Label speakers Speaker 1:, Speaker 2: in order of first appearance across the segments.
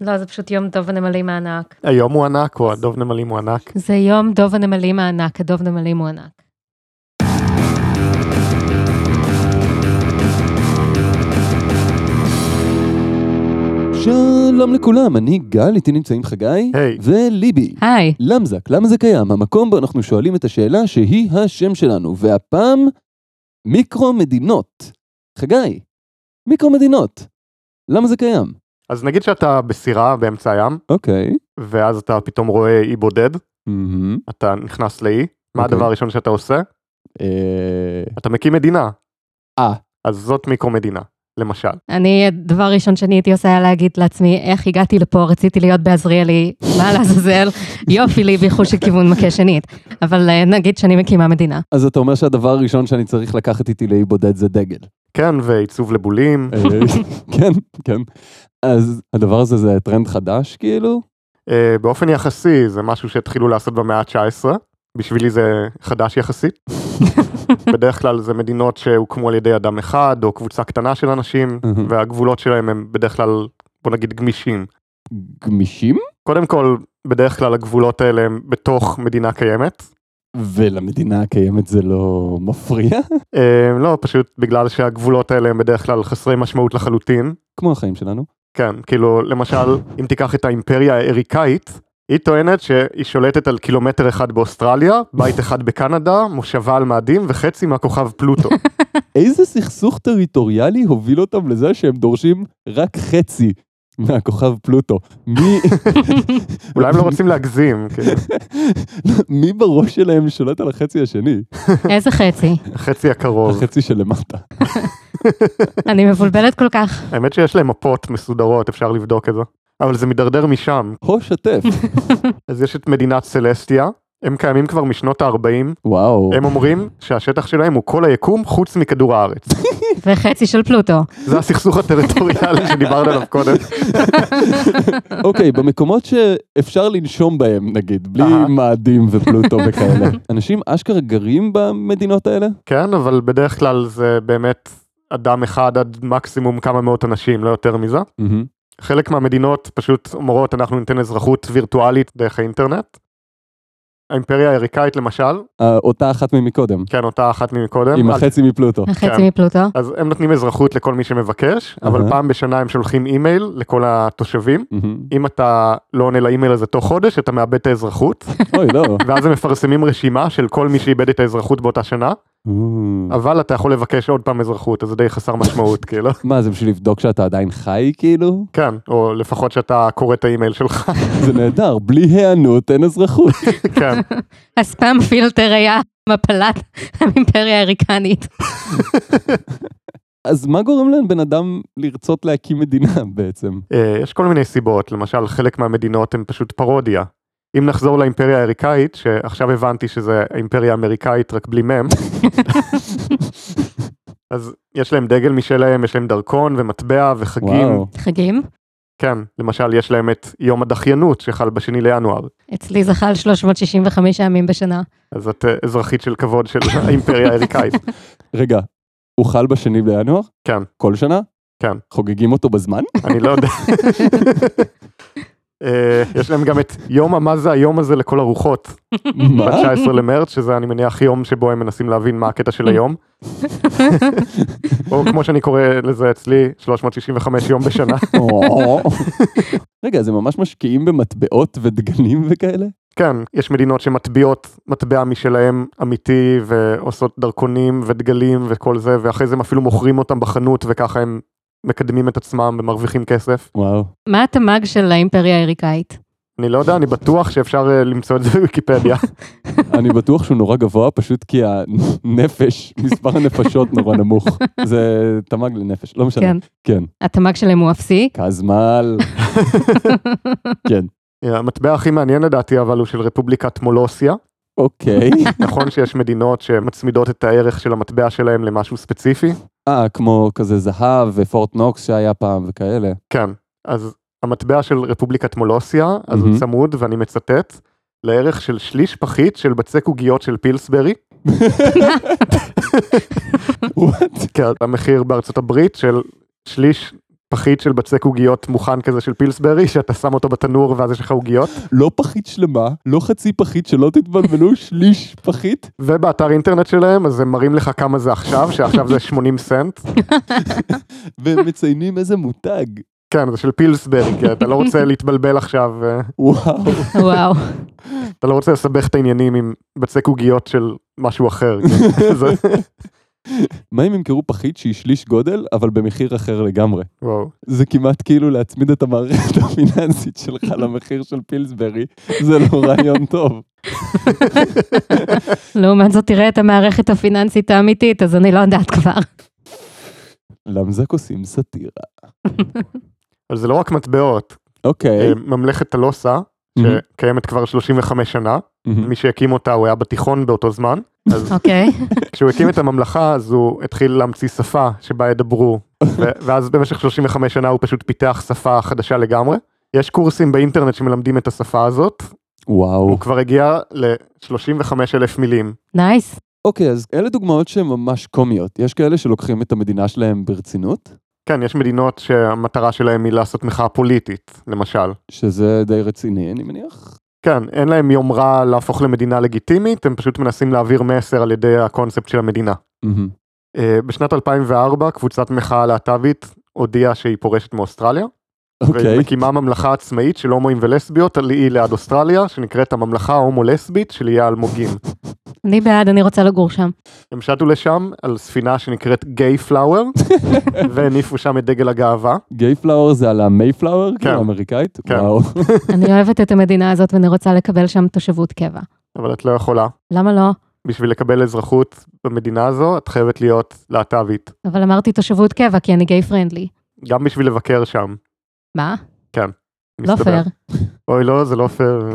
Speaker 1: לא, זה פשוט יום דוב הנמלים הענק.
Speaker 2: היום הוא ענק או הדוב נמלים הוא ענק?
Speaker 1: זה יום דוב הנמלים הענק, הדוב נמלים הוא ענק.
Speaker 3: שלום לכולם, אני גל, איתי נמצאים חגי
Speaker 2: היי.
Speaker 3: וליבי.
Speaker 1: היי.
Speaker 3: למזק, למה זה קיים? המקום בו אנחנו שואלים את השאלה שהיא השם שלנו, והפעם מיקרו-מדינות. חגי, מיקרו-מדינות. למה זה קיים?
Speaker 2: אז נגיד שאתה בסירה באמצע הים,
Speaker 3: אוקיי.
Speaker 2: ואז אתה פתאום רואה אי בודד,
Speaker 3: מהמם.
Speaker 2: אתה נכנס לאי, מה
Speaker 3: אוקיי.
Speaker 2: הדבר הראשון שאתה עושה?
Speaker 3: אה,
Speaker 2: אתה מקים מדינה.
Speaker 3: אה.
Speaker 2: אז זאת מיקרו מדינה, למשל.
Speaker 1: אני, הדבר הראשון שאני הייתי עושה היה להגיד לעצמי, איך הגעתי לפה, רציתי להיות בעזריאלי, מה לעזאזל, יופי לי בי של כיוון מכה שנית. אבל אה, נגיד שאני מקימה מדינה.
Speaker 3: אז אתה אומר שהדבר הראשון שאני צריך לקחת איתי לאי בודד זה דגל.
Speaker 2: כן, ועיצוב לבולים.
Speaker 3: אה, כן, כן. אז הדבר הזה זה טרנד חדש כאילו?
Speaker 2: אה, באופן יחסי זה משהו שהתחילו לעשות במאה ה-19, בשבילי זה חדש יחסית. בדרך כלל זה מדינות שהוקמו על ידי אדם אחד או קבוצה קטנה של אנשים,
Speaker 3: מהמם.
Speaker 2: והגבולות שלהם הם בדרך כלל, בוא נגיד, גמישים.
Speaker 3: גמישים?
Speaker 2: קודם כל, בדרך כלל הגבולות האלה הם בתוך מדינה קיימת.
Speaker 3: ולמדינה הקיימת זה לא מפריע?
Speaker 2: אה, לא, פשוט בגלל שהגבולות האלה הם בדרך כלל חסרי משמעות לחלוטין.
Speaker 3: כמו החיים שלנו.
Speaker 2: כן, כאילו, למשל, אם תיקח את האימפריה האריקאית, היא טוענת שהיא שולטת על קילומטר אחד באוסטרליה, בית אחד בקנדה, מושבה על מאדים וחצי מהכוכב פלוטו.
Speaker 3: איזה סכסוך טריטוריאלי הוביל אותם לזה שהם דורשים רק חצי מהכוכב פלוטו? מי...
Speaker 2: אולי הם לא רוצים להגזים, כאילו,
Speaker 3: מי בראש שלהם שולט על החצי השני?
Speaker 1: איזה חצי?
Speaker 2: החצי הקרוב.
Speaker 3: החצי שלמטה.
Speaker 1: אני מבולבלת כל כך.
Speaker 2: האמת שיש להם מפות מסודרות, אפשר לבדוק את זה. אבל זה מידרדר משם.
Speaker 3: או שתף.
Speaker 2: אז יש את מדינת סלסטיה, הם קיימים כבר משנות ה-40,
Speaker 3: וואו.
Speaker 2: הם אומרים שהשטח שלהם הוא כל היקום חוץ מכדור הארץ.
Speaker 1: וחצי של פלוטו.
Speaker 2: זה הסכסוך הטריטוריאלי שדיברת עליו קודם.
Speaker 3: אוקיי, במקומות שאפשר לנשום בהם, נגיד, בלי
Speaker 2: אהה.
Speaker 3: מאדים ופלוטו וכאלה. אנשים אשכרה גרים במדינות האלה?
Speaker 2: כן, אבל בדרך כלל זה באמת אדם אחד עד מקסימום כמה מאות אנשים, לא יותר מזה. חלק מהמדינות פשוט אומרות אנחנו ניתן אזרחות וירטואלית דרך האינטרנט. האימפריה האריקאית למשל,
Speaker 3: אה, אותה אחת ממקודם,
Speaker 2: כן אותה אחת ממקודם,
Speaker 3: עם
Speaker 2: אז-
Speaker 3: החצי מפלוטו.
Speaker 1: החצי
Speaker 2: כן.
Speaker 1: מפלוטו.
Speaker 2: אז הם נותנים אזרחות לכל מי שמבקש,
Speaker 3: אהה.
Speaker 2: אבל פעם בשנה הם שולחים אימייל לכל התושבים.
Speaker 3: מהמם.
Speaker 2: אם אתה לא עונה לאימייל הזה תוך חודש, אתה מאבד את האזרחות,
Speaker 3: אוי, לא.
Speaker 2: ואז הם מפרסמים רשימה של כל מי שאיבד את האזרחות באותה שנה, אבל אתה יכול לבקש עוד פעם אזרחות, אז זה די חסר משמעות, כאילו.
Speaker 3: מה, זה בשביל לבדוק שאתה עדיין חי, כאילו?
Speaker 2: כן, או לפחות שאתה קורא את האימייל שלך,
Speaker 3: זה נהדר, בלי היענות אין אזרחות.
Speaker 2: כן.
Speaker 1: הספאם פילטר היה מפלת האימפריה האריקנית.
Speaker 3: אז מה גורם לבן אדם לרצות להקים מדינה בעצם?
Speaker 2: אה, יש כל מיני סיבות, למשל חלק מהמדינות הן פשוט פרודיה. אם נחזור לאימפריה האריקאית, שעכשיו הבנתי שזה האימפריה האמריקאית רק בלי מם, אז יש להם דגל משלהם, יש להם דרכון ומטבע וחגים.
Speaker 3: וואו.
Speaker 1: חגים?
Speaker 2: כן, למשל יש להם את יום הדחיינות שחל בשני לינואר,
Speaker 1: אצלי זה חל 365 ימים בשנה.
Speaker 2: אז את אה, אזרחית של כבוד של האימפריה האריקאית.
Speaker 3: רגע, הוא חל בשני בינואר?
Speaker 2: כן.
Speaker 3: כל שנה?
Speaker 2: כן.
Speaker 3: חוגגים אותו בזמן?
Speaker 2: אני לא יודע. אה, יש להם גם את יום המה זה היום הזה לכל הרוחות,
Speaker 3: מה?
Speaker 2: ב-19 למרץ, שזה אני מניח יום שבו הם מנסים להבין מה הקטע של היום. או כמו שאני קורא לזה אצלי, 365 יום בשנה.
Speaker 3: או. רגע, אז הם ממש משקיעים במטבעות ודגלים וכאלה?
Speaker 2: כן, יש מדינות שמטביעות מטבע משלהם אמיתי, ועושות דרכונים ודגלים וכל זה, ואחרי זה הם אפילו מוכרים אותם בחנות, וככה הם מקדמים את עצמם ומרוויחים כסף.
Speaker 3: וואו.
Speaker 1: מה התמ"ג של האימפריה האריקאית?
Speaker 2: אני לא יודע, אני בטוח שאפשר אה, למצוא את זה בוויקיפדיה.
Speaker 3: אני בטוח שהוא נורא גבוה, פשוט כי הנפש, מספר הנפשות נורא נמוך. זה תמ"ג לנפש, לא משנה.
Speaker 1: כן.
Speaker 3: כן.
Speaker 1: התמ"ג שלהם הוא אפסי?
Speaker 3: קזמל. כן.
Speaker 2: המטבע הכי מעניין לדעתי אבל הוא של רפובליקת מולוסיה.
Speaker 3: אוקיי.
Speaker 2: נכון שיש מדינות שמצמידות את הערך של המטבע שלהם למשהו ספציפי?
Speaker 3: אה, כמו כזה זהב ופורט נוקס שהיה פעם וכאלה.
Speaker 2: כן. אז המטבע של רפובליקת מולוסיה, אז
Speaker 3: מהמם.
Speaker 2: הוא צמוד, ואני מצטט, לערך של שליש פחית של בצק עוגיות של פילסברי.
Speaker 3: וואט?
Speaker 2: כן, המחיר בארצות הברית של שליש פחית של בצק עוגיות מוכן כזה של פילסברי, שאתה שם אותו בתנור ואז יש לך עוגיות,
Speaker 3: לא פחית שלמה, לא חצי פחית, שלא תתבלבלו, שליש פחית.
Speaker 2: ובאתר אינטרנט שלהם אז הם מראים לך כמה זה עכשיו, שעכשיו זה 80 סנט,
Speaker 3: והם מציינים איזה מותג.
Speaker 2: כן זה של פילסברי, כי אתה לא רוצה להתבלבל עכשיו, אה,
Speaker 3: וואו.
Speaker 1: וואו.
Speaker 2: אתה לא רוצה לסבך את העניינים עם בצק עוגיות של משהו אחר, כן, זה,
Speaker 3: מה אם ימכרו פחית שהיא שליש גודל, אבל במחיר אחר לגמרי?
Speaker 2: וואו,
Speaker 3: זה כמעט כאילו להצמיד את המערכת הפיננסית שלך למחיר של פילסברי, זה לא רעיון טוב.
Speaker 1: לעומת זאת, תראה את המערכת הפיננסית האמיתית, אז אני לא יודעת כבר.
Speaker 3: למזק עושים סאטירה.
Speaker 2: אבל זה לא רק מטבעות,
Speaker 3: אוקיי. Mm-hmm.
Speaker 2: אה, ממלכת הלוסה,
Speaker 3: מהמם,
Speaker 2: שקיימת כבר 35 שנה,
Speaker 3: מהמם.
Speaker 2: מי שהקים אותה הוא היה בתיכון באותו זמן, אז
Speaker 1: אוקיי.
Speaker 2: כשהוא הקים את הממלכה אז הוא התחיל להמציא שפה שבה ידברו, ו- ואז במשך 35 שנה הוא פשוט פיתח שפה חדשה לגמרי. יש קורסים באינטרנט שמלמדים את השפה הזאת,
Speaker 3: וואו.
Speaker 2: הוא כבר הגיע ל-35 אלף מילים.
Speaker 1: נייס.
Speaker 3: אוקיי, אז אלה דוגמאות שהן ממש קומיות. יש כאלה שלוקחים את המדינה שלהם ברצינות,
Speaker 2: כן, יש מדינות שהמטרה שלהם היא לעשות מחאה פוליטית, למשל.
Speaker 3: שזה די רציני, אני מניח.
Speaker 2: כן, אין להם יומרה להפוך למדינה לגיטימית, הם פשוט מנסים להעביר מסר על ידי הקונספט של המדינה.
Speaker 3: מהמם.
Speaker 2: אה, בשנת 2004 קבוצת מחאה להט"בית הודיעה שהיא פורשת מאוסטרליה.
Speaker 3: אוקיי.
Speaker 2: ומקימה ממלכה עצמאית של הומואים ולסביות על אי ליד אוסטרליה, שנקראת הממלכה ההומו-לסבית של איי האלמוגים.
Speaker 1: אני בעד, אני רוצה לגור שם.
Speaker 2: הם שטו לשם על ספינה שנקראת גיי פלאואר, והניפו שם את דגל הגאווה.
Speaker 3: גיי פלאואר זה על המייפלאואר, כאילו האמריקאית?
Speaker 2: כן.
Speaker 3: וואו.
Speaker 1: אני אוהבת את המדינה הזאת ואני רוצה לקבל שם תושבות קבע.
Speaker 2: אבל את לא יכולה.
Speaker 1: למה לא?
Speaker 2: בשביל לקבל אזרחות במדינה הזו, את חייבת להיות להט"בית.
Speaker 1: אבל אמרתי תושבות קבע כי אני גיי פרנדלי.
Speaker 2: גם בשביל לבקר שם.
Speaker 1: מה? לא
Speaker 2: מסתבר.
Speaker 1: פייר.
Speaker 2: אוי, לא, זה לא פייר.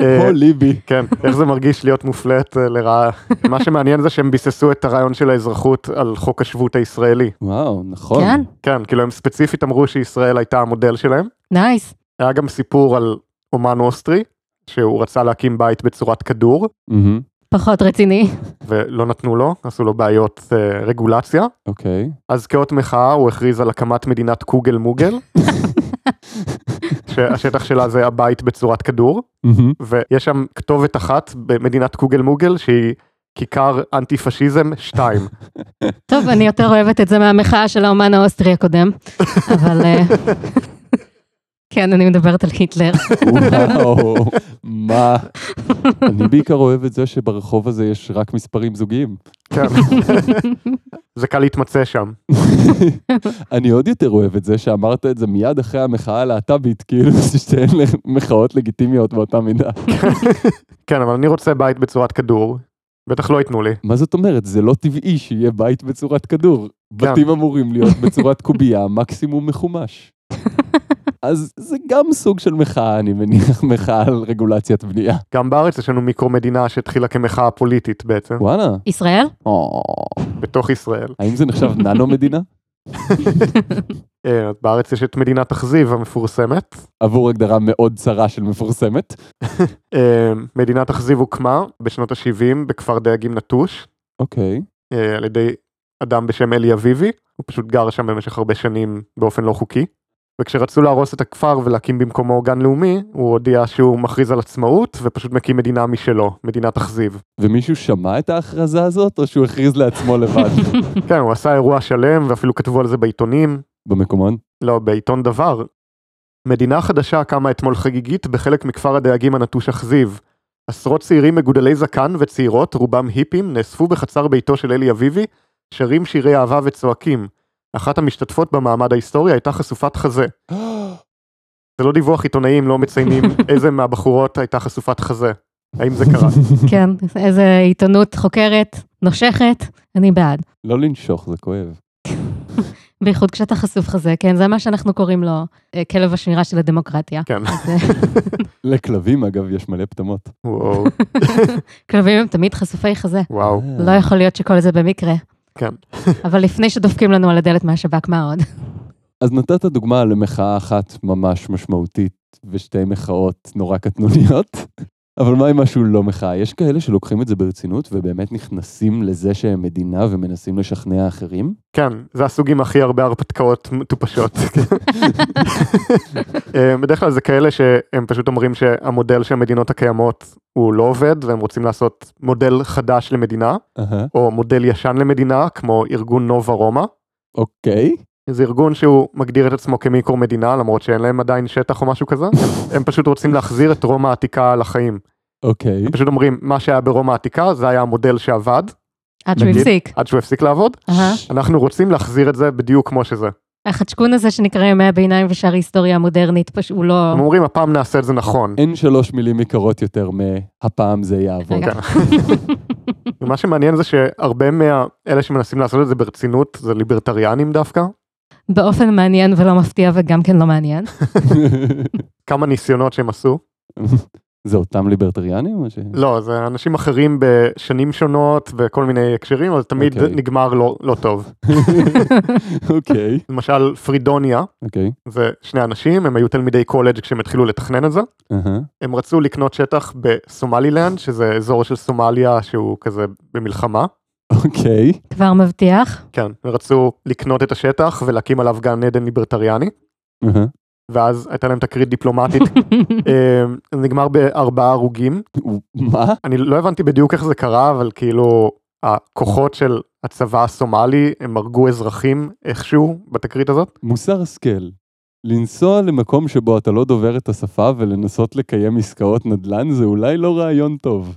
Speaker 2: אה,
Speaker 3: או ליבי.
Speaker 2: כן, איך זה מרגיש להיות מופלט אה, לרעה. מה שמעניין זה שהם ביססו את הרעיון של האזרחות על חוק השבות הישראלי.
Speaker 3: וואו, נכון.
Speaker 1: כן?
Speaker 2: כן, כאילו הם ספציפית אמרו שישראל הייתה המודל שלהם.
Speaker 1: נייס.
Speaker 2: היה גם סיפור על אומן אוסטרי, שהוא רצה להקים בית בצורת כדור,
Speaker 3: מהמם,
Speaker 1: פחות רציני.
Speaker 2: ולא נתנו לו, עשו לו בעיות אה, רגולציה.
Speaker 3: אוקיי.
Speaker 2: אז כאות מחאה הוא הכריז על הקמת מדינת קוגל מוגל, שהשטח שלה זה הבית בצורת כדור,
Speaker 3: מהמם.
Speaker 2: ויש שם כתובת אחת במדינת קוגל מוגל שהיא כיכר אנטי פשיזם 2.
Speaker 1: טוב, אני יותר אוהבת את זה מהמחאה של האומן האוסטרי הקודם, אבל... אה, כן, אני מדברת על היטלר.
Speaker 3: וואו, מה? אני בעיקר אוהב את זה שברחוב הזה יש רק מספרים זוגיים.
Speaker 2: כן. זה קל להתמצא שם.
Speaker 3: אני עוד יותר אוהב את זה שאמרת את זה מיד אחרי המחאה הלהט"בית, כאילו ששתיהן מחאות לגיטימיות באותה מידה.
Speaker 2: כן, אבל אני רוצה בית בצורת כדור, בטח לא ייתנו לי.
Speaker 3: מה זאת אומרת? זה לא טבעי שיהיה בית בצורת כדור.
Speaker 2: גם.
Speaker 3: בתים אמורים להיות בצורת קובייה, מקסימום מחומש. אז זה גם סוג של מחאה, אני מניח, מחאה על רגולציית בנייה.
Speaker 2: גם בארץ יש לנו מיקרו מדינה שהתחילה כמחאה פוליטית בעצם,
Speaker 3: וואלה.
Speaker 1: ישראל?
Speaker 3: או,
Speaker 2: בתוך ישראל.
Speaker 3: האם זה נחשב ננו מדינה?
Speaker 2: אה, בארץ יש את מדינת תחזיב המפורסמת.
Speaker 3: עבור הגדרה מאוד צרה של מפורסמת.
Speaker 2: אה, מדינת תחזיב הוקמה בשנות ה-70 בכפר דייגים נטוש,
Speaker 3: אוקיי.
Speaker 2: אה, על ידי אדם בשם אלי אביבי, הוא פשוט גר שם במשך הרבה שנים באופן לא חוקי. וכשרצו להרוס את הכפר ולהקים במקומו גן לאומי, הוא הודיע שהוא מכריז על עצמאות ופשוט מקים מדינה משלו, מדינת תחזיב.
Speaker 3: ומישהו שמע את ההכרזה הזאת, או שהוא הכריז לעצמו לבד?
Speaker 2: כן, הוא עשה אירוע שלם ואפילו כתבו על זה בעיתונים,
Speaker 3: במקומון?
Speaker 2: לא, בעיתון דבר. מדינה חדשה קמה אתמול חגיגית בחלק מכפר הדייגים הנטוש אכזיב. עשרות צעירים מגודלי זקן וצעירות, רובם היפים, נאספו בחצר ביתו של אלי אביבי, שרים שירי אהבה וצועקים. אחת המשתתפות במעמד ההיסטורי הייתה חשופת חזה. זה לא דיווח עיתונאים, לא מציינים איזה מהבחורות הייתה חשופת חזה. האם זה קרה?
Speaker 1: כן, איזה עיתונות חוקרת, נושכת, אני בעד.
Speaker 3: לא לנשוך, זה כואב.
Speaker 1: בייחוד כשאתה חשוף חזה, כן, זה מה שאנחנו קוראים לו אה, כלב השמירה של הדמוקרטיה.
Speaker 2: כן.
Speaker 1: אז, אה,
Speaker 3: לכלבים, אגב, יש מלא פטמות.
Speaker 2: וואו,
Speaker 1: כלבים הם תמיד חשופי חזה.
Speaker 2: וואו.
Speaker 1: לא יכול להיות שכל זה במקרה.
Speaker 2: אה. כן.
Speaker 1: אבל לפני שדופקים לנו על הדלת מהשב"כ, מה עוד?
Speaker 3: אז נתת דוגמה למחאה אחת ממש משמעותית, ושתי מחאות נורא קטנוניות, אבל מה עם משהו לא מחאה? יש כאלה שלוקחים את זה ברצינות ובאמת נכנסים לזה שהם מדינה ומנסים לשכנע אחרים?
Speaker 2: כן, זה הסוג עם הכי הרבה הרפתקאות מטופשות. אה, בדרך כלל זה כאלה שהם פשוט אומרים שהמודל של המדינות הקיימות הוא לא עובד והם רוצים לעשות מודל חדש למדינה,
Speaker 3: אהה,
Speaker 2: או מודל ישן למדינה, כמו ארגון נובה רומא.
Speaker 3: אוקיי.
Speaker 2: זה ארגון שהוא מגדיר את עצמו כמיקרו מדינה, למרות שאין להם עדיין שטח או משהו כזה. הם פשוט רוצים להחזיר את רומא העתיקה לחיים.
Speaker 3: אוקיי.
Speaker 2: פשוט אומרים, מה שהיה ברומא העתיקה זה היה המודל שעבד,
Speaker 1: עד שהוא
Speaker 2: נגיד.
Speaker 1: הפסיק.
Speaker 2: עד שהוא הפסיק לעבוד.
Speaker 1: אהה.
Speaker 2: אנחנו רוצים להחזיר את זה בדיוק כמו שזה.
Speaker 1: החדשקון הזה שנקרא ימי הביניים ושאר ההיסטוריה המודרנית, פשוט הוא לא...
Speaker 2: הם אומרים, הפעם נעשה את זה נכון.
Speaker 3: אין שלוש מילים יקרות יותר מ"הפעם זה יעבוד".
Speaker 1: רגע.
Speaker 2: מה שמעניין זה שהרבה מאלה שמנסים לעשות את זה ברצינות זה ליברטריאנים דווקא.
Speaker 1: באופן מעניין ולא מפתיע וגם כן לא מעניין.
Speaker 2: כמה ניסיונות שהם עשו.
Speaker 3: זה אותם ליברטריאנים או ש...
Speaker 2: לא, זה אנשים אחרים בשנים שונות וכל מיני הקשרים, אבל תמיד
Speaker 3: אוקיי.
Speaker 2: נגמר לא, לא טוב.
Speaker 3: אוקיי.
Speaker 2: למשל, פרידוניה,
Speaker 3: אוקיי.
Speaker 2: זה שני אנשים, הם היו תלמידי קולג' כשהם התחילו לתכנן את זה.
Speaker 3: אהה.
Speaker 2: הם רצו לקנות שטח בסומלילנד, שזה אזור של סומליה שהוא כזה במלחמה.
Speaker 3: אוקיי.
Speaker 1: כבר מבטיח.
Speaker 2: כן, הם רצו לקנות את השטח ולהקים עליו גן עדן ליברטריאני,
Speaker 3: אהה.
Speaker 2: ואז הייתה להם תקרית דיפלומטית, אה, זה נגמר בארבעה הרוגים.
Speaker 3: מה?
Speaker 2: אני לא הבנתי בדיוק איך זה קרה, אבל כאילו הכוחות של הצבא הסומלי, הם הרגו אזרחים איכשהו בתקרית הזאת.
Speaker 3: מוסר השכל. לנסוע למקום שבו אתה לא דובר את השפה ולנסות לקיים עסקאות נדל"ן זה אולי לא רעיון טוב.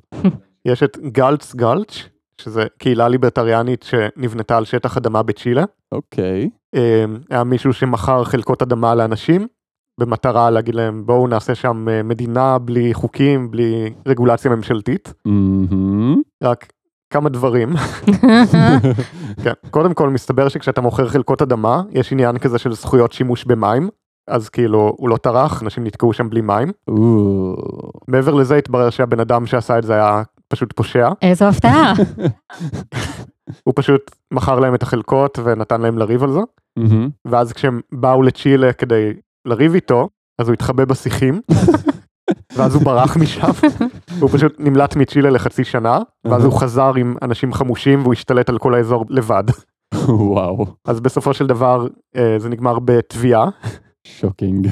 Speaker 2: יש את גלץ גלץ', שזה קהילה ליברטריאנית שנבנתה על שטח אדמה בצ'ילה.
Speaker 3: אוקיי.
Speaker 2: אה, היה מישהו שמכר חלקות אדמה לאנשים במטרה להגיד להם בואו נעשה שם אה, מדינה בלי חוקים בלי רגולציה ממשלתית
Speaker 3: מהמם.
Speaker 2: רק כמה דברים כן. קודם כל מסתבר שכשאתה מוכר חלקות אדמה יש עניין כזה של זכויות שימוש במים אז כאילו הוא לא טרח אנשים נתקעו שם בלי מים
Speaker 3: או.
Speaker 2: מעבר לזה התברר שהבן אדם שעשה את זה היה פשוט פושע
Speaker 1: איזו אה, הפתעה.
Speaker 2: הוא פשוט מכר להם את החלקות ונתן להם לריב על זה
Speaker 3: מהמם.
Speaker 2: ואז כשהם באו לצ'ילה כדי לריב איתו, אז הוא התחבא בשיחים, ואז הוא ברח משם, הוא פשוט נמלט מצ'ילה לחצי שנה, ואז הוא חזר עם אנשים חמושים והוא השתלט על כל האזור לבד.
Speaker 3: וואו.
Speaker 2: אז בסופו של דבר אה, זה נגמר בתביעה,
Speaker 3: שוקינג.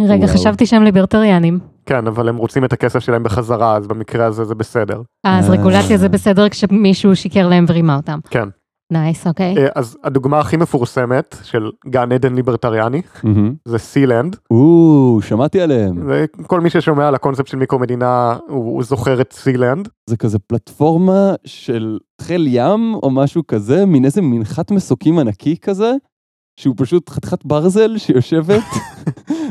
Speaker 1: רגע,
Speaker 3: וואו.
Speaker 1: חשבתי שהם ליברטריאנים.
Speaker 2: כן, אבל הם רוצים את הכסף שלהם בחזרה, אז במקרה הזה זה בסדר.
Speaker 1: אה, אז
Speaker 3: אה.
Speaker 1: רגולציה זה בסדר כשמישהו שיקר להם ורימה אותם.
Speaker 2: כן.
Speaker 1: נייס, אוקיי.
Speaker 2: אה, אז הדוגמה הכי מפורסמת של גן עדן ליברטריאני,
Speaker 3: מהמם.
Speaker 2: זה סילנד,
Speaker 3: Mm. או, שמעתי עליהם.
Speaker 2: וכל מי ששומע על הקונספט של מיקרו מדינה, הוא הוא זוכר את סילנד.
Speaker 3: זה כזה פלטפורמה של חיל ים או משהו כזה, מין איזה מנחת מסוקים ענקי כזה, שהוא פשוט חתיכת ברזל שיושבת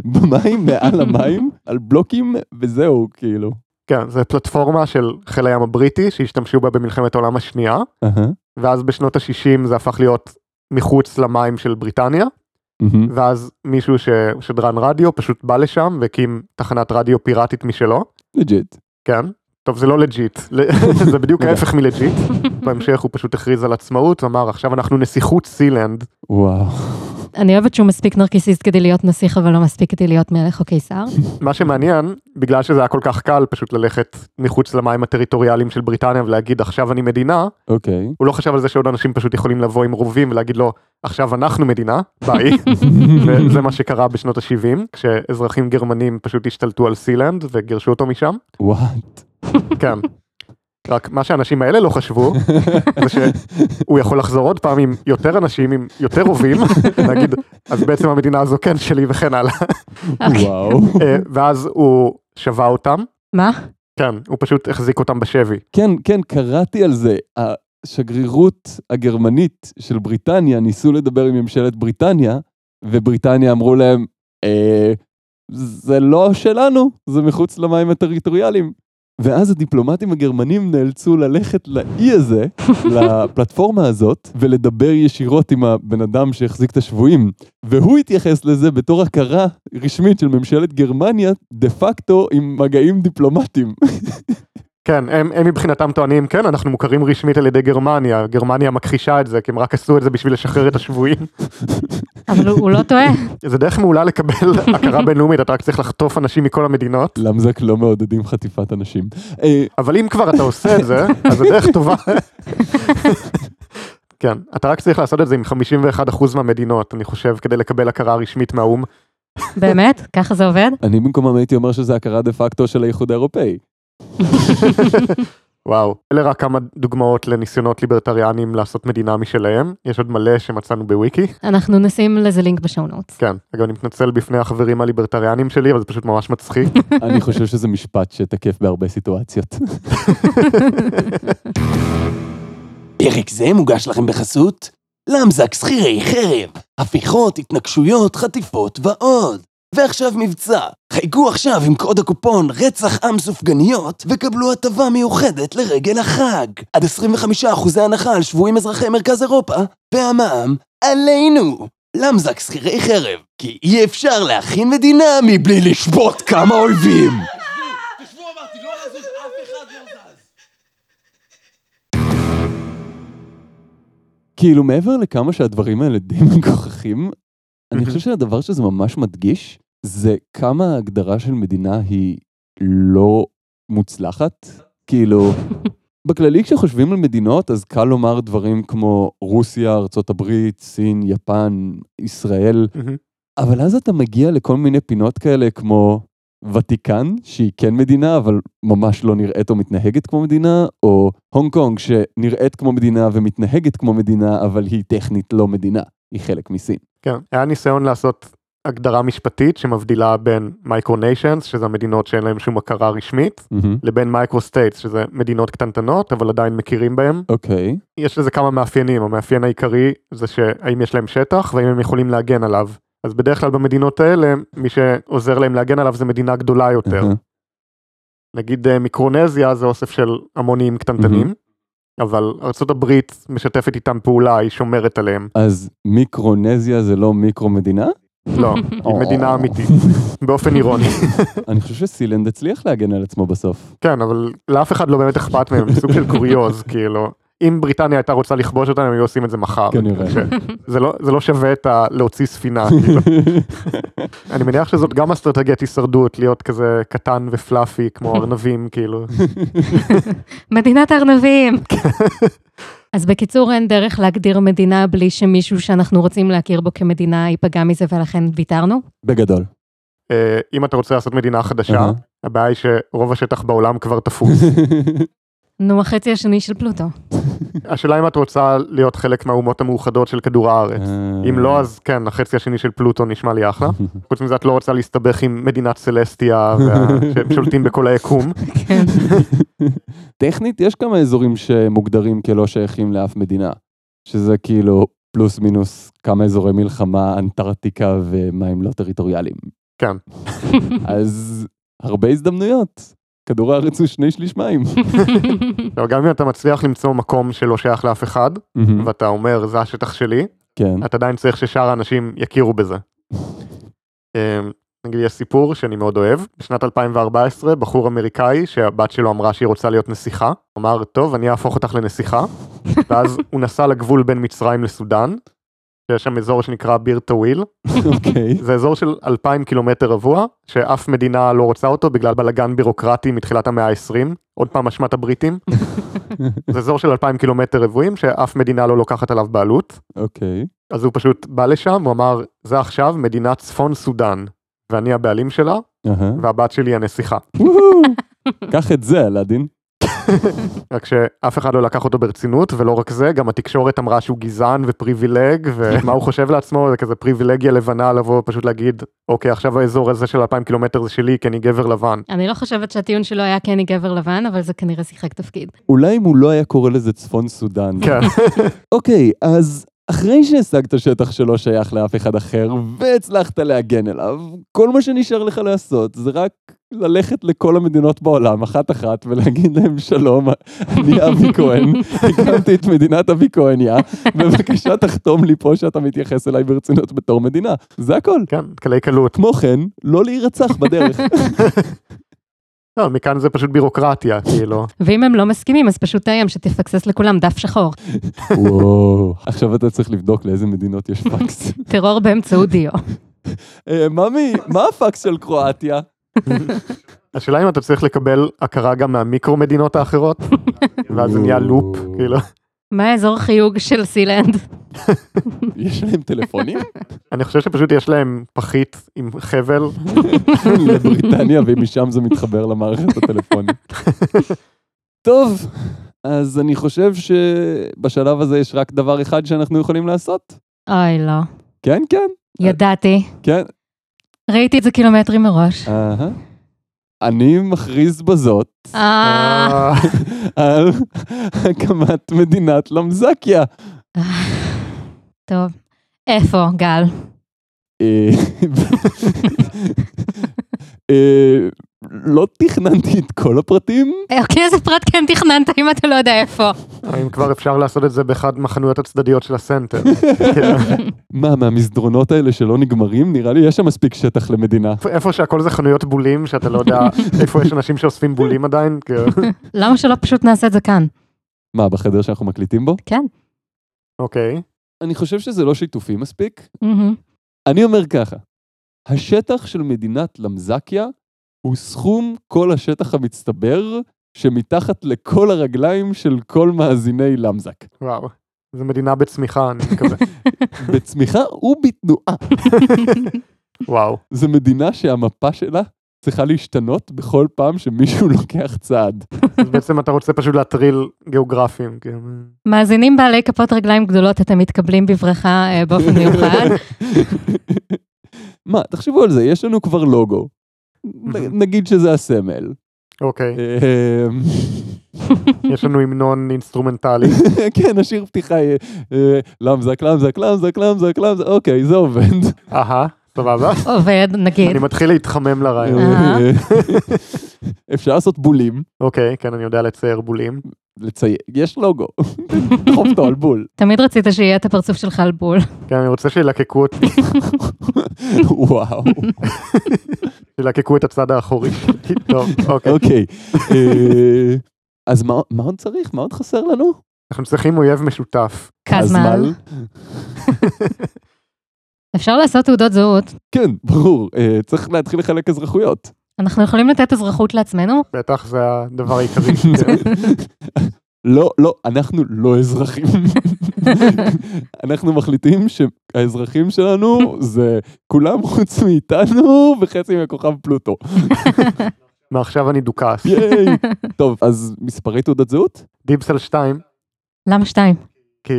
Speaker 3: במים, מעל המים, על בלוקים, וזהו, כאילו.
Speaker 2: כן, זו פלטפורמה של חיל הים הבריטי שהשתמשו בה במלחמת העולם השנייה,
Speaker 3: אהה,
Speaker 2: ואז בשנות ה-60 זה הפך להיות מחוץ למים של בריטניה,
Speaker 3: מהמם.
Speaker 2: ואז מישהו ששדרן רדיו פשוט בא לשם והקים תחנת רדיו פיראטית משלו,
Speaker 3: לג'יט.
Speaker 2: כן? טוב זה לא לג'יט, ל- זה בדיוק ההפך מלג'יט, בהמשך הוא פשוט הכריז על עצמאות, אמר עכשיו אנחנו נסיכות סילנד,
Speaker 3: וואו. אה.
Speaker 1: אני אוהבת שהוא מספיק נרקיסיסט כדי להיות נסיך, אבל לא מספיק כדי להיות מלך או קיסר.
Speaker 2: מה שמעניין, בגלל שזה היה כל כך קל פשוט ללכת מחוץ למים הטריטוריאליים של בריטניה ולהגיד עכשיו אני מדינה,
Speaker 3: אוקיי.
Speaker 2: הוא לא חשב על זה שעוד אנשים פשוט יכולים לבוא עם רובים ולהגיד לו עכשיו אנחנו מדינה ביי וזה מה שקרה בשנות ה-70 כשאזרחים גרמנים פשוט השתלטו על סילנד וגירשו אותו משם
Speaker 3: וואט.
Speaker 2: כן. רק מה שהאנשים האלה לא חשבו זה שהוא יכול לחזור עוד פעם עם יותר אנשים עם יותר רובים להגיד אז בעצם המדינה הזו כן שלי וכן הלאה
Speaker 1: אוקיי.
Speaker 3: וואו.
Speaker 2: אה, ואז הוא שבה אותם
Speaker 1: מה?
Speaker 2: כן הוא פשוט החזיק אותם בשבי
Speaker 3: כן, כן, קראתי על זה. השגרירות הגרמנית של בריטניה ניסו לדבר עם ממשלת בריטניה, ובריטניה אמרו להם, אה, זה לא שלנו, זה מחוץ למים הטריטוריאליים. ואז הדיפלומטים הגרמנים נאלצו ללכת לאי הזה, לפלטפורמה הזאת, ולדבר ישירות עם הבן אדם שהחזיק את השבויים. והוא התייחס לזה בתור הכרה רשמית של ממשלת גרמניה, דה פקטו עם מגעים דיפלומטיים.
Speaker 2: כן, הם, הם מבחינתם טוענים, כן, אנחנו מוכרים רשמית על ידי גרמניה, גרמניה מכחישה את זה, כי הם רק עשו את זה בשביל לשחרר את השבויים.
Speaker 1: אבל הוא הוא לא טועה.
Speaker 2: זה דרך מעולה לקבל הכרה בינלאומית, אתה רק צריך לחטוף אנשים מכל המדינות,
Speaker 3: למזק לא מעודדים חטיפת אנשים. אה,
Speaker 2: אבל אם כבר אתה עושה את זה, אז זה דרך טובה. כן, אתה רק צריך לעשות את זה עם 51% מהמדינות, אני חושב, כדי לקבל הכרה רשמית מהאו"ם.
Speaker 1: באמת? ככה זה עובד?
Speaker 3: אני במקומם הייתי אומר שזה הכרה דה פקטו של האיחוד האירופאי.
Speaker 2: וואו, אלה רק כמה דוגמאות לניסיונות ליברטריאנים לעשות מדינה משלהם, יש עוד מלא שמצאנו בוויקי.
Speaker 1: אנחנו נשים לזה לינק בשואו נוטס.
Speaker 2: כן, אגב אני מתנצל בפני החברים הליברטריאנים שלי, אבל זה פשוט ממש מצחיק.
Speaker 3: אני חושב שזה משפט שתקף בהרבה סיטואציות.
Speaker 4: פרק זה מוגש לכם בחסות למזק שכירי חרב, הפיכות, התנגשויות, חטיפות ועוד. ועכשיו מבצע, חייגו עכשיו עם קוד הקופון רצח עם סופגניות וקבלו הטבה מיוחדת לרגל החג. עד 25% הנחה על שבויים אזרחי מרכז אירופה והמע"מ עלינו. למזק שכירי חרב, כי אי אפשר להכין מדינה מבלי לשבות כמה אויבים.
Speaker 3: כאילו, מעבר לכמה שהדברים האלה די מגוחכים, אני חושב שהדבר שזה ממש מדגיש, זה כמה ההגדרה של מדינה היא לא מוצלחת. כאילו, בכללי כשחושבים על מדינות, אז קל לומר דברים כמו רוסיה, ארצות הברית, סין, יפן, ישראל, אבל אז אתה מגיע לכל מיני פינות כאלה כמו ותיקן, שהיא כן מדינה, אבל ממש לא נראית או מתנהגת כמו מדינה, או הונג קונג, שנראית כמו מדינה ומתנהגת כמו מדינה, אבל היא טכנית לא מדינה, היא חלק מסין.
Speaker 2: כן, היה ניסיון לעשות הגדרה משפטית שמבדילה בין מייקרוניישנס, שזה המדינות שאין להן שום הכרה רשמית, לבין מייקרו סטייטס, שזה מדינות קטנטנות, אבל עדיין מכירים בהן.
Speaker 3: אוקיי,
Speaker 2: יש לזה כמה מאפיינים, המאפיין העיקרי זה שהאם יש להם שטח והאם הם יכולים להגן עליו. אז בדרך כלל במדינות האלה, מי שעוזר להם להגן עליו זה מדינה גדולה יותר.
Speaker 3: אהה.
Speaker 2: נגיד אה, מיקרונזיה זה אוסף של המונים קטנטנים, אבל ארצות הברית משתפת איתם פעולה, היא שומרת עליהם.
Speaker 3: אז מיקרונזיה זה לא מיקרו מדינה?
Speaker 2: לא, היא מדינה אמיתית, באופן אירוני.
Speaker 3: אני חושב שסילנד הצליח להגן על עצמו בסוף.
Speaker 2: כן, אבל לאף אחד לא באמת אכפת מהם, סוג של קוריוז, כאילו. אם בריטניה הייתה רוצה לכבוש אותנו, הם היו עושים את זה מחר.
Speaker 3: כנראה.
Speaker 2: זה לא, זה לא שווה את ה... להוציא ספינה, כאילו. אני מניח שזאת גם אסטרטגיית הישרדות, להיות כזה קטן ופלאפי כמו ארנבים, כאילו.
Speaker 1: מדינת הארנבים. אז בקיצור, אין דרך להגדיר מדינה בלי שמישהו שאנחנו רוצים להכיר בו כמדינה ייפגע מזה ולכן ויתרנו?
Speaker 3: בגדול.
Speaker 2: אה, אם אתה רוצה לעשות מדינה חדשה,
Speaker 3: אהה.
Speaker 2: הבעיה היא שרוב השטח בעולם כבר תפוס.
Speaker 1: נו, החצי השני של פלוטו.
Speaker 2: השאלה אם את רוצה להיות חלק מהאומות המאוחדות של כדור הארץ.
Speaker 3: אה.
Speaker 2: אם לא, אז כן, החצי השני של פלוטו נשמע לי אחלה. חוץ מזה, את לא רוצה להסתבך עם מדינת סלסטיה, וה- שהם שולטים בכל היקום.
Speaker 1: כן.
Speaker 3: טכנית, יש כמה אזורים שמוגדרים כלא שייכים לאף מדינה, שזה כאילו פלוס מינוס כמה אזורי מלחמה, אנטארקטיקה ומים לא טריטוריאליים.
Speaker 2: כן.
Speaker 3: אז הרבה הזדמנויות. כדור הארץ הוא שני שליש מים.
Speaker 2: אבל לא, גם אם אתה מצליח למצוא מקום שלא שייך לאף אחד, ואתה אומר, זה השטח שלי,
Speaker 3: כן.
Speaker 2: אתה עדיין צריך ששאר האנשים יכירו בזה. אמ, נגיד, יש סיפור שאני מאוד אוהב. בשנת 2014, בחור אמריקאי שהבת שלו אמרה שהיא רוצה להיות נסיכה, אמר, טוב, אני אהפוך אותך לנסיכה, ואז הוא נסע לגבול בין מצרים לסודאן, שיש שם אזור שנקרא ביר טוויל,
Speaker 3: אוקיי.
Speaker 2: זה אזור של 2,000 קילומטר רבוע, שאף מדינה לא רוצה אותו בגלל בלאגן בירוקרטי מתחילת המאה ה-20, עוד פעם אשמת הבריטים. זה אזור של 2,000 קילומטר רבועים שאף מדינה לא לוקחת עליו בעלות.
Speaker 3: אוקיי.
Speaker 2: אז הוא פשוט בא לשם, הוא אמר, זה עכשיו מדינת צפון סודאן, ואני הבעלים שלה,
Speaker 3: אהה.
Speaker 2: והבת שלי היא הנסיכה.
Speaker 3: וואו. קח את זה, אלאדין.
Speaker 2: רק שאף אחד לא לקח אותו ברצינות, ולא רק זה, גם התקשורת אמרה שהוא גזען ופריבילג, ומה הוא חושב לעצמו, זה כזה פריבילגיה לבנה לבוא פשוט להגיד, אוקיי, עכשיו האזור הזה של 2,000 קילומטר זה שלי, כי אני גבר לבן.
Speaker 1: אני לא חושבת שהטיעון שלו היה כי אני גבר לבן, אבל זה כנראה שיחק תפקיד.
Speaker 3: אולי אם הוא לא היה קורא לזה צפון סודאן.
Speaker 2: כן.
Speaker 3: אוקיי, אז אחרי שהשגת שטח שלא שייך לאף אחד אחר, והצלחת להגן עליו, כל מה שנשאר לך לעשות זה רק ללכת לכל המדינות בעולם, אחת-אחת, ולהגיד להם שלום, אני אבי כהן, הקמתי את מדינת אבי כהניה, בבקשה תחתום לי פה שאתה מתייחס אליי ברצינות בתור מדינה. זה הכל.
Speaker 2: כן, קלי קלות.
Speaker 3: כמו כן, לא להירצח בדרך.
Speaker 2: לא, מכאן זה פשוט בירוקרטיה, כאילו.
Speaker 1: ואם הם לא מסכימים, אז פשוט תאיים שתפקסס לכולם דף שחור.
Speaker 3: וואו. עכשיו אתה צריך לבדוק לאיזה מדינות יש פקס.
Speaker 1: טרור באמצעות דיו.
Speaker 3: אה, ממי, מה הפקס של קרואטיה?
Speaker 2: השאלה אם אתה צריך לקבל הכרה גם מהמיקרו מדינות האחרות, ואז זה נהיה לופ, כאילו.
Speaker 1: מה האזור חיוג של סילנד?
Speaker 3: יש להם טלפונים?
Speaker 2: אני חושב שפשוט יש להם פחית עם חבל,
Speaker 3: לבריטניה, ומשם זה מתחבר למערכת הטלפונית. טוב, אז אני חושב שבשלב הזה יש רק דבר אחד שאנחנו יכולים לעשות.
Speaker 1: אוי, לא.
Speaker 3: כן, כן,
Speaker 1: ידעתי.
Speaker 3: כן.
Speaker 1: ראיתי את זה קילומטרים מראש.
Speaker 3: אהה. אני מכריז בזאת
Speaker 1: אה,
Speaker 2: אה,
Speaker 3: על הקמת מדינת למזקיה.
Speaker 1: טוב. איפה, גל?
Speaker 3: אה, אה, לא תכננתי את כל הפרטים,
Speaker 1: אוקיי, איזה פרט כן תכננת אם אתה לא יודע איפה.
Speaker 2: האם אה, כבר אפשר לעשות את זה באחד מהחנויות הצדדיות של הסנטר. כאילו,
Speaker 3: מה, מהמסדרונות האלה שלא נגמרים? נראה לי יש שם מספיק שטח למדינה.
Speaker 2: איפה שהכל זה חנויות בולים, שאתה לא יודע איפה יש אנשים שאוספים בולים עדיין, כאילו.
Speaker 1: למה שלא פשוט נעשה את זה כאן?
Speaker 3: מה, בחדר שאנחנו מקליטים בו?
Speaker 1: כן.
Speaker 2: אוקיי.
Speaker 3: אני חושב שזה לא שיתופי מספיק.
Speaker 1: מהמם.
Speaker 3: אני אומר ככה, השטח של מדינת למזקיה הוא סכום כל השטח המצטבר שמתחת לכל הרגליים של כל מאזיני למזק.
Speaker 2: וואו. זו מדינה בצמיחה, אני מקווה.
Speaker 3: בצמיחה ובתנועה.
Speaker 2: וואו.
Speaker 3: זו מדינה שהמפה שלה צריכה להשתנות בכל פעם שמישהו לוקח צעד.
Speaker 2: אז בעצם אתה רוצה פשוט להטריל גיאוגרפים, כאילו.
Speaker 1: מאזינים בעלי כפות רגליים גדולות, אתם מתקבלים בברכה אה, באופן מיוחד.
Speaker 3: מה, תחשבו על זה, יש לנו כבר לוגו. נ- נגיד שזה הסמל.
Speaker 2: אוקיי.
Speaker 3: אמ,
Speaker 2: יש לנו המנון אינסטרומנטלי.
Speaker 3: כן, השיר פתיחה יהיה אה, למזק, למזק, למזק, למזק, למזק, אוקיי, זה עובד.
Speaker 2: אהה, סבבה.
Speaker 1: עובד, נגיד.
Speaker 2: אני מתחיל להתחמם לרעיון.
Speaker 1: כן. אה.
Speaker 3: אפשר לעשות בולים,
Speaker 2: אוקיי, כן, אני יודע לצייר בולים.
Speaker 3: לציין, יש לוגו, תחוף אותו על בול.
Speaker 1: תמיד רצית שיהיה את הפרצוף שלך על בול.
Speaker 2: כן, אני רוצה שילקקו אותי,
Speaker 3: וואו,
Speaker 2: שילקקו את הצד האחורי. טוב, אוקיי.
Speaker 3: אוקיי. אה, אז מה- מה עוד צריך? מה עוד חסר לנו?
Speaker 2: אנחנו צריכים אויב משותף.
Speaker 1: קזמל. אפשר לעשות תעודות זהות.
Speaker 3: כן, ברור, אה, צריך להתחיל לחלק אזרחויות.
Speaker 1: אנחנו יכולים לתת אזרחות לעצמנו?
Speaker 2: בטח זה הדבר העיקרי. כן.
Speaker 3: לא, לא, אנחנו לא אזרחים. אנחנו מחליטים שהאזרחים שלנו זה כולם חוץ מאיתנו וחצי מהכוכב פלוטו.
Speaker 2: מעכשיו אני דוכס.
Speaker 3: ייי. טוב, אז מספרי תעודת זהות?
Speaker 2: דיבסל 2,
Speaker 1: למה שתיים?
Speaker 2: כי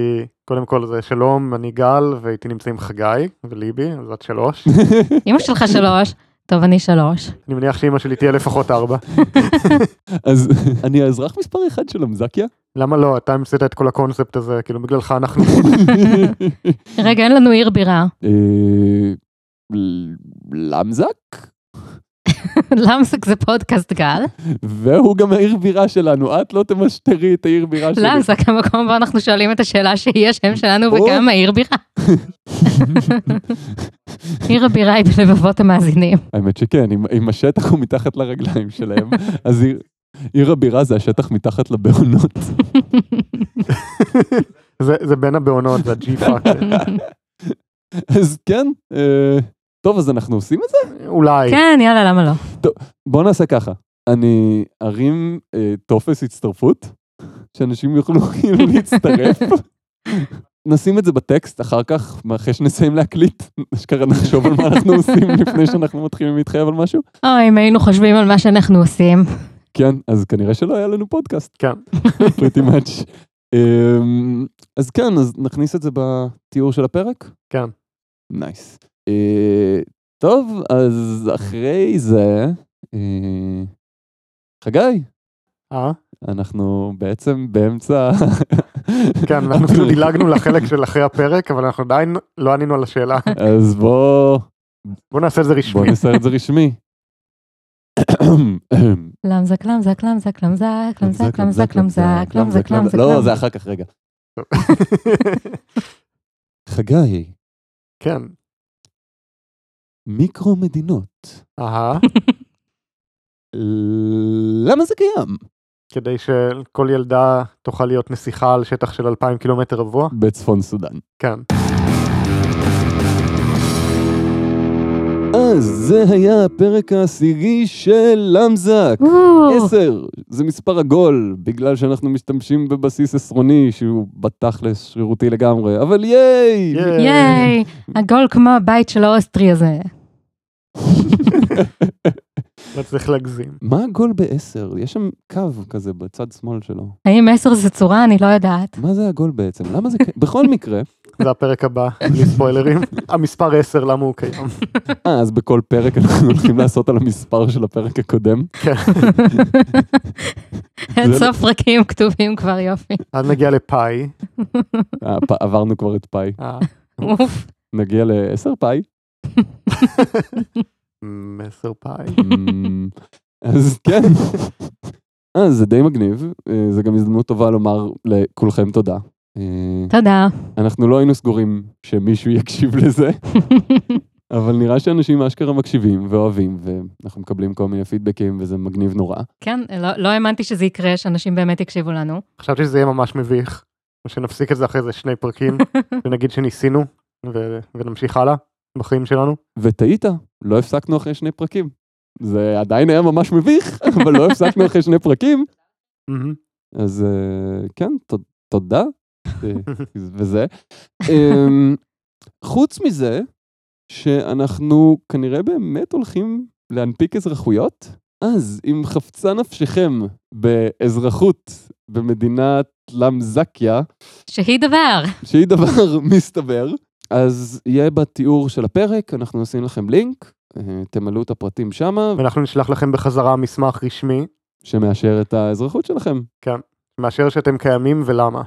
Speaker 2: קודם כל זה שלום, אני גל, ואיתי נמצאים חגי וליבי, אז את שלוש.
Speaker 1: אמא שלך שלוש. טוב, אני שלוש.
Speaker 2: אני מניח שאימא שלי תהיה לפחות ארבע.
Speaker 3: אז אני האזרח מספר אחד של אמזקיה?
Speaker 2: למה לא? אתה המצאת את כל הקונספט הזה, כאילו בגללך אנחנו...
Speaker 1: רגע, אין לנו עיר בירה.
Speaker 3: אה, ל- למזק?
Speaker 1: למסק זה פודקאסט גל.
Speaker 3: והוא גם העיר בירה שלנו, את לא תמשטרי את העיר בירה שלי.
Speaker 1: למסק המקום בו אנחנו שואלים את השאלה שהיא השם שלנו
Speaker 3: או.
Speaker 1: וגם העיר בירה. עיר הבירה היא בלבבות המאזינים.
Speaker 3: האמת שכן, אם- אם השטח הוא מתחת לרגליים שלהם, אז עיר- עיר הבירה זה השטח מתחת לבעונות.
Speaker 2: זה, זה בין הבעונות, זה הג'י פאק.
Speaker 3: אז כן, אה, טוב, אז אנחנו עושים את זה?
Speaker 2: אולי.
Speaker 1: כן, יאללה, למה לא?
Speaker 3: בואו נעשה ככה, אני ארים אה, טופס הצטרפות, שאנשים יוכלו כאילו להצטרף. נשים את זה בטקסט אחר כך, אחרי שנסיים להקליט, אשכרה נחשוב על מה אנחנו עושים לפני שאנחנו מתחילים להתחייב על משהו.
Speaker 1: אוי, אם היינו חושבים על מה שאנחנו עושים.
Speaker 3: כן, אז כנראה שלא היה לנו פודקאסט.
Speaker 2: כן.
Speaker 3: פריטי מאץ'. אז כן, אז נכניס את זה בתיאור של הפרק?
Speaker 2: כן.
Speaker 3: נייס. אה, טוב, אז אחרי זה, אה, חגי,
Speaker 2: אה?
Speaker 3: אנחנו בעצם באמצע...
Speaker 2: כן, אנחנו אפילו
Speaker 3: הפרק.
Speaker 2: דילגנו לחלק של אחרי הפרק, אבל אנחנו עדיין לא ענינו על השאלה.
Speaker 3: אז בוא,
Speaker 2: בוא נעשה את זה
Speaker 3: בוא
Speaker 2: רשמי.
Speaker 3: נעשה את זה רשמי.
Speaker 1: למזק, למזק, למזק, למזק, למזק, למזק, למזק, למזק, למזק.
Speaker 3: לא, זה אחר כך, רגע. חגי,
Speaker 2: כן.
Speaker 3: מיקרו מדינות.
Speaker 2: אהה.
Speaker 3: למה זה קיים?
Speaker 2: כדי שכל ילדה תוכל להיות נסיכה על שטח של 2,000 קילומטר רבוע?
Speaker 3: בצפון סודאן.
Speaker 2: כן.
Speaker 3: אז זה היה הפרק העשירי של למזק.
Speaker 1: וואו.
Speaker 3: עשר, זה מספר עגול, בגלל שאנחנו משתמשים בבסיס עשרוני שהוא בתכלס שרירותי לגמרי, אבל ייי!
Speaker 2: ייי.
Speaker 1: ייי, עגול כמו הבית של האוסטרי הזה.
Speaker 2: לא צריך להגזים.
Speaker 3: מה עגול בעשר? יש שם קו כזה בצד שמאל שלו.
Speaker 1: האם עשר זה צורה? אני לא יודעת.
Speaker 3: מה זה עגול בעצם? למה זה... ק- בכל מקרה,
Speaker 2: זה הפרק הבא, בלי ספוילרים. המספר 10, למה הוא קיים?
Speaker 3: אה, אז בכל פרק אנחנו הולכים לעשות על המספר של הפרק הקודם.
Speaker 1: אין
Speaker 3: זה-
Speaker 1: סוף פרקים כתובים כבר, יופי.
Speaker 2: אז נגיע לפאי.
Speaker 3: אה, פ- עברנו כבר את פאי.
Speaker 2: אה,
Speaker 1: אוף.
Speaker 3: נגיע לעשר פאי.
Speaker 2: מסר פאי.
Speaker 3: אמ, אז כן. אה, זה די מגניב, אה, זה גם הזדמנות טובה לומר לכולכם תודה. אה,
Speaker 1: תודה.
Speaker 3: אנחנו לא היינו סגורים שמישהו יקשיב לזה, אבל נראה שאנשים אשכרה מקשיבים ואוהבים, ואנחנו מקבלים כל מיני פידבקים וזה מגניב נורא.
Speaker 1: כן, לא- לא האמנתי שזה יקרה, שאנשים באמת יקשיבו לנו.
Speaker 2: חשבתי שזה יהיה ממש מביך. או שנפסיק את זה אחרי זה שני פרקים, ונגיד שניסינו, ו- ונמשיך הלאה בחיים שלנו.
Speaker 3: וטעית, לא הפסקנו אחרי שני פרקים. זה עדיין היה ממש מביך, אבל לא הפסקנו אחרי שני פרקים.
Speaker 2: מהמם.
Speaker 3: אז אה, כן, ת- תודה. אה, וזה. אמ, חוץ מזה, שאנחנו כנראה באמת הולכים להנפיק אזרחויות, אז אם חפצה נפשכם באזרחות במדינת למזקיה,
Speaker 1: שהיא דבר.
Speaker 3: שהיא דבר מסתבר, אז יהיה בתיאור של הפרק, אנחנו נשים לכם לינק, אה, תמלאו את הפרטים שמה,
Speaker 2: ואנחנו נשלח לכם בחזרה מסמך רשמי,
Speaker 3: שמאשר את האזרחות שלכם.
Speaker 2: מאשר שאתם קיימים ולמה.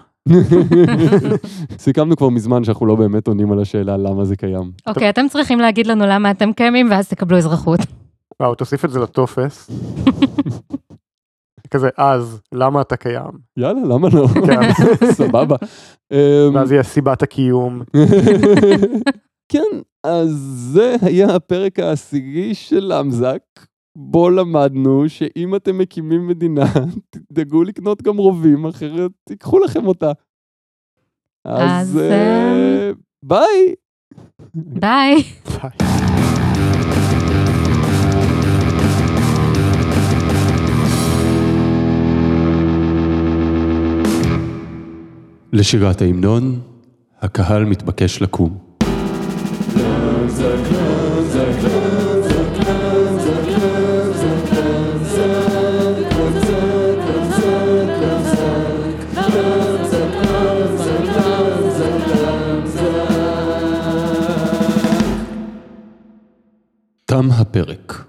Speaker 3: סיכמנו כבר מזמן שאנחנו לא באמת עונים על השאלה למה זה קיים.
Speaker 1: אוקיי, אתם צריכים להגיד לנו למה אתם קיימים, ואז תקבלו אזרחות.
Speaker 2: וואו, תוסיף את זה לטופס. כזה, אז, למה אתה קיים?
Speaker 3: יאללה, למה לא?
Speaker 2: כן.
Speaker 3: סבבה. אמ,
Speaker 2: ואז יהיה סיבת הקיום.
Speaker 3: כן, אז זה היה הפרק העשירי של אמזק, בו למדנו שאם אתם מקימים מדינה, תדאגו לקנות גם רובים, אחרת תיקחו לכם אותה. אז
Speaker 1: אז,
Speaker 3: אה, ביי!
Speaker 1: ביי.
Speaker 5: לשירת ההמנון, הקהל מתבקש לקום. תם הפרק.